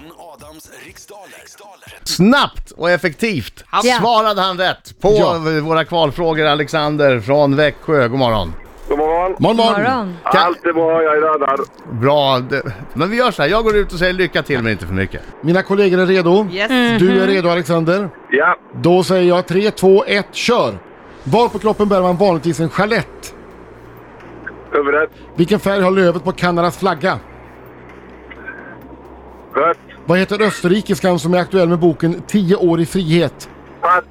Stockholms riksdaler. riksdaler. Snabbt och effektivt Ja. svarade han rätt på Ja. våra kvalfrågor Alexander från Växjö. God morgon. God morgon. Morgon, morgon. Morgon. Kan, Allt är bra, jag är laddad. bra. det- Men vi gör så här, jag går ut och säger lycka till men inte för mycket. Mina kollegor är redo. Yes. Du är redo Alexander. Ja, Då säger jag 3, 2, 1, kör! Var på kroppen bär man vanligtvis en chalett? huvudet. Vilken färg har lövet på Kanadas flagga? Rött. Vad heter österrikiskan som är aktuell med boken 10 år i frihet? Pass.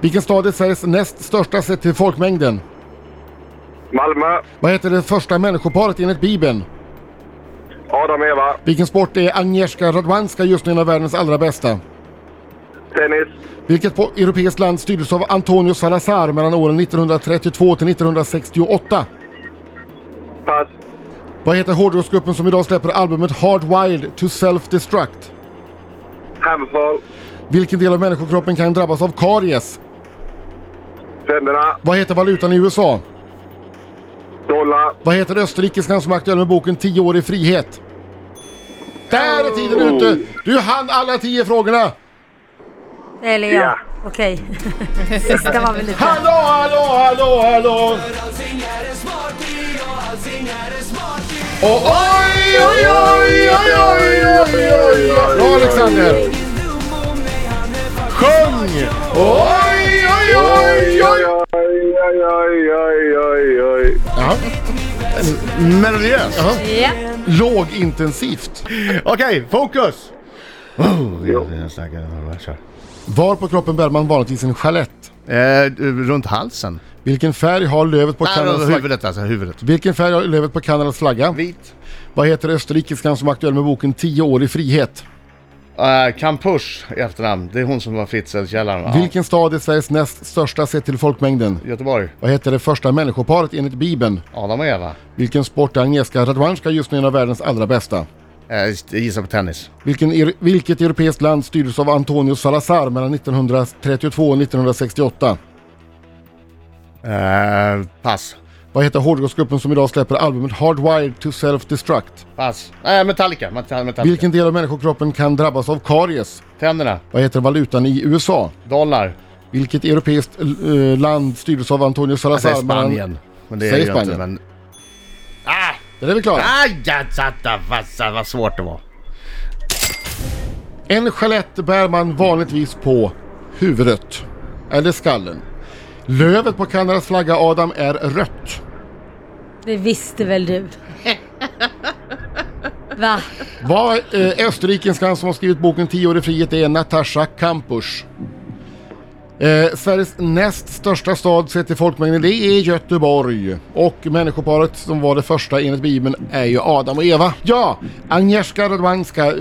Vilken stad är Sveriges näst största sett till folkmängden? Malmö. Vad heter det första människoparet enligt Bibeln? Adam Eva. Vilken sport är Agnieszka Radwanska just nu en av världens allra bästa? Tennis. Vilket po- europeiskt land styrdes av Antonio Salazar mellan åren 1932 till 1968? Pass. Vad heter hårdrocksgruppen som idag släpper albumet Hardwired to Self-Destruct? Hammerfall. Vilken del av människokroppen kan drabbas av karies? Tänderna. Vad heter valutan i USA? Dollar. Vad heter österrikiskan som är aktuell med boken 10 år i frihet? Där är tiden ute! Du hann alla 10 frågorna! Eller ja, okej. Sista var väl lite... Hallå, hallå, hallå, hallå! Och oj, oj, oj, oj, oj, oj, oj, oj! Bra Alexander! Sjung! Oj, oj, oj, oj! Oj, oj, oj, oj, oj, oj. Ja, Melodiöst. ja. Ja. Lågintensivt. Okej, fokus! Oh, jag- jag snackar- jag kör. Var på kroppen bär man vanligtvis en chalett? Eh, runt halsen. Vilken färg har lövet på Kanadas Nej, flagga? huvudet alltså, huvudet. Vilken färg har lövet på Kanadas flagga? Vit. Vad heter österrikiskan som är aktuell med boken 10 år i frihet? Uh, Kampusch i efternamn. Det är hon som var Fritzl-källaren va? Vilken stad är Sveriges näst största sett till folkmängden? Göteborg. Vad heter det första människoparet enligt Bibeln? Adam och Eva. Vilken sport är Agnieszka Radwanska just nu en av världens allra bästa? Eh, gissa på tennis. Vilken, er- vilket europeiskt land styrdes av Antonio Salazar mellan 1932 och 1968? Eh, pass. Vad heter hårdrocksgruppen som idag släpper albumet Hardwired to Self-Destruct? Pass. Nej, Metallica. Met- Metallica. Vilken del av människokroppen kan drabbas av karies? Tänderna. Vad heter valutan i USA? Dollar. Vilket europeiskt eh, land styrdes av Antonio Jag säger Salazar? mellan- Spanien. Men det är Alltså, Säg ju inte, Spanien. men... Där är vi klara. Ah! Aj, jag satta fassa, vad svårt det var. En skelett bär man vanligtvis på huvudet eller skallen. Lövet på Kanadas flagga Adam är rött. Det visste väl du? Va? Vad eh, österrikenskan som har skrivit boken 10 år i frihet är Natasha Kampusch. Eh, Sveriges näst största stad sett till folkmängden det är Göteborg. Och människoparet som var det första enligt Bibeln är ju Adam och Eva. Ja, Agnieszka Radwanska, eh,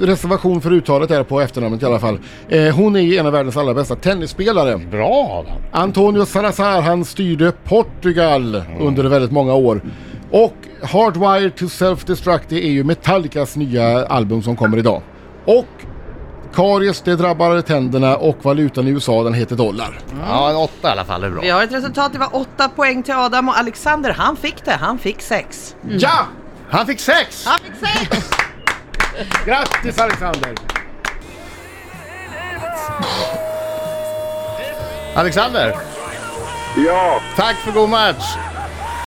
reservation för uttalet där på efternamnet i alla fall. Eh, hon är ju en av världens allra bästa tennisspelare. Bra Adam. Antonio Salazar han styrde Portugal under väldigt många år. Och Hardwired to Self-Destruct det är ju Metallicas nya album som kommer idag. Och karies det drabbar tänderna och valutan i USA den heter dollar. Ja, en åtta i alla fall är bra. Vi har ett resultat, det var åtta poäng till Adam och Alexander, han fick det, han fick sex. Ja! Han fick sex! Han fick sex! Grattis Alexander! Alexander, Ja, tack för god match!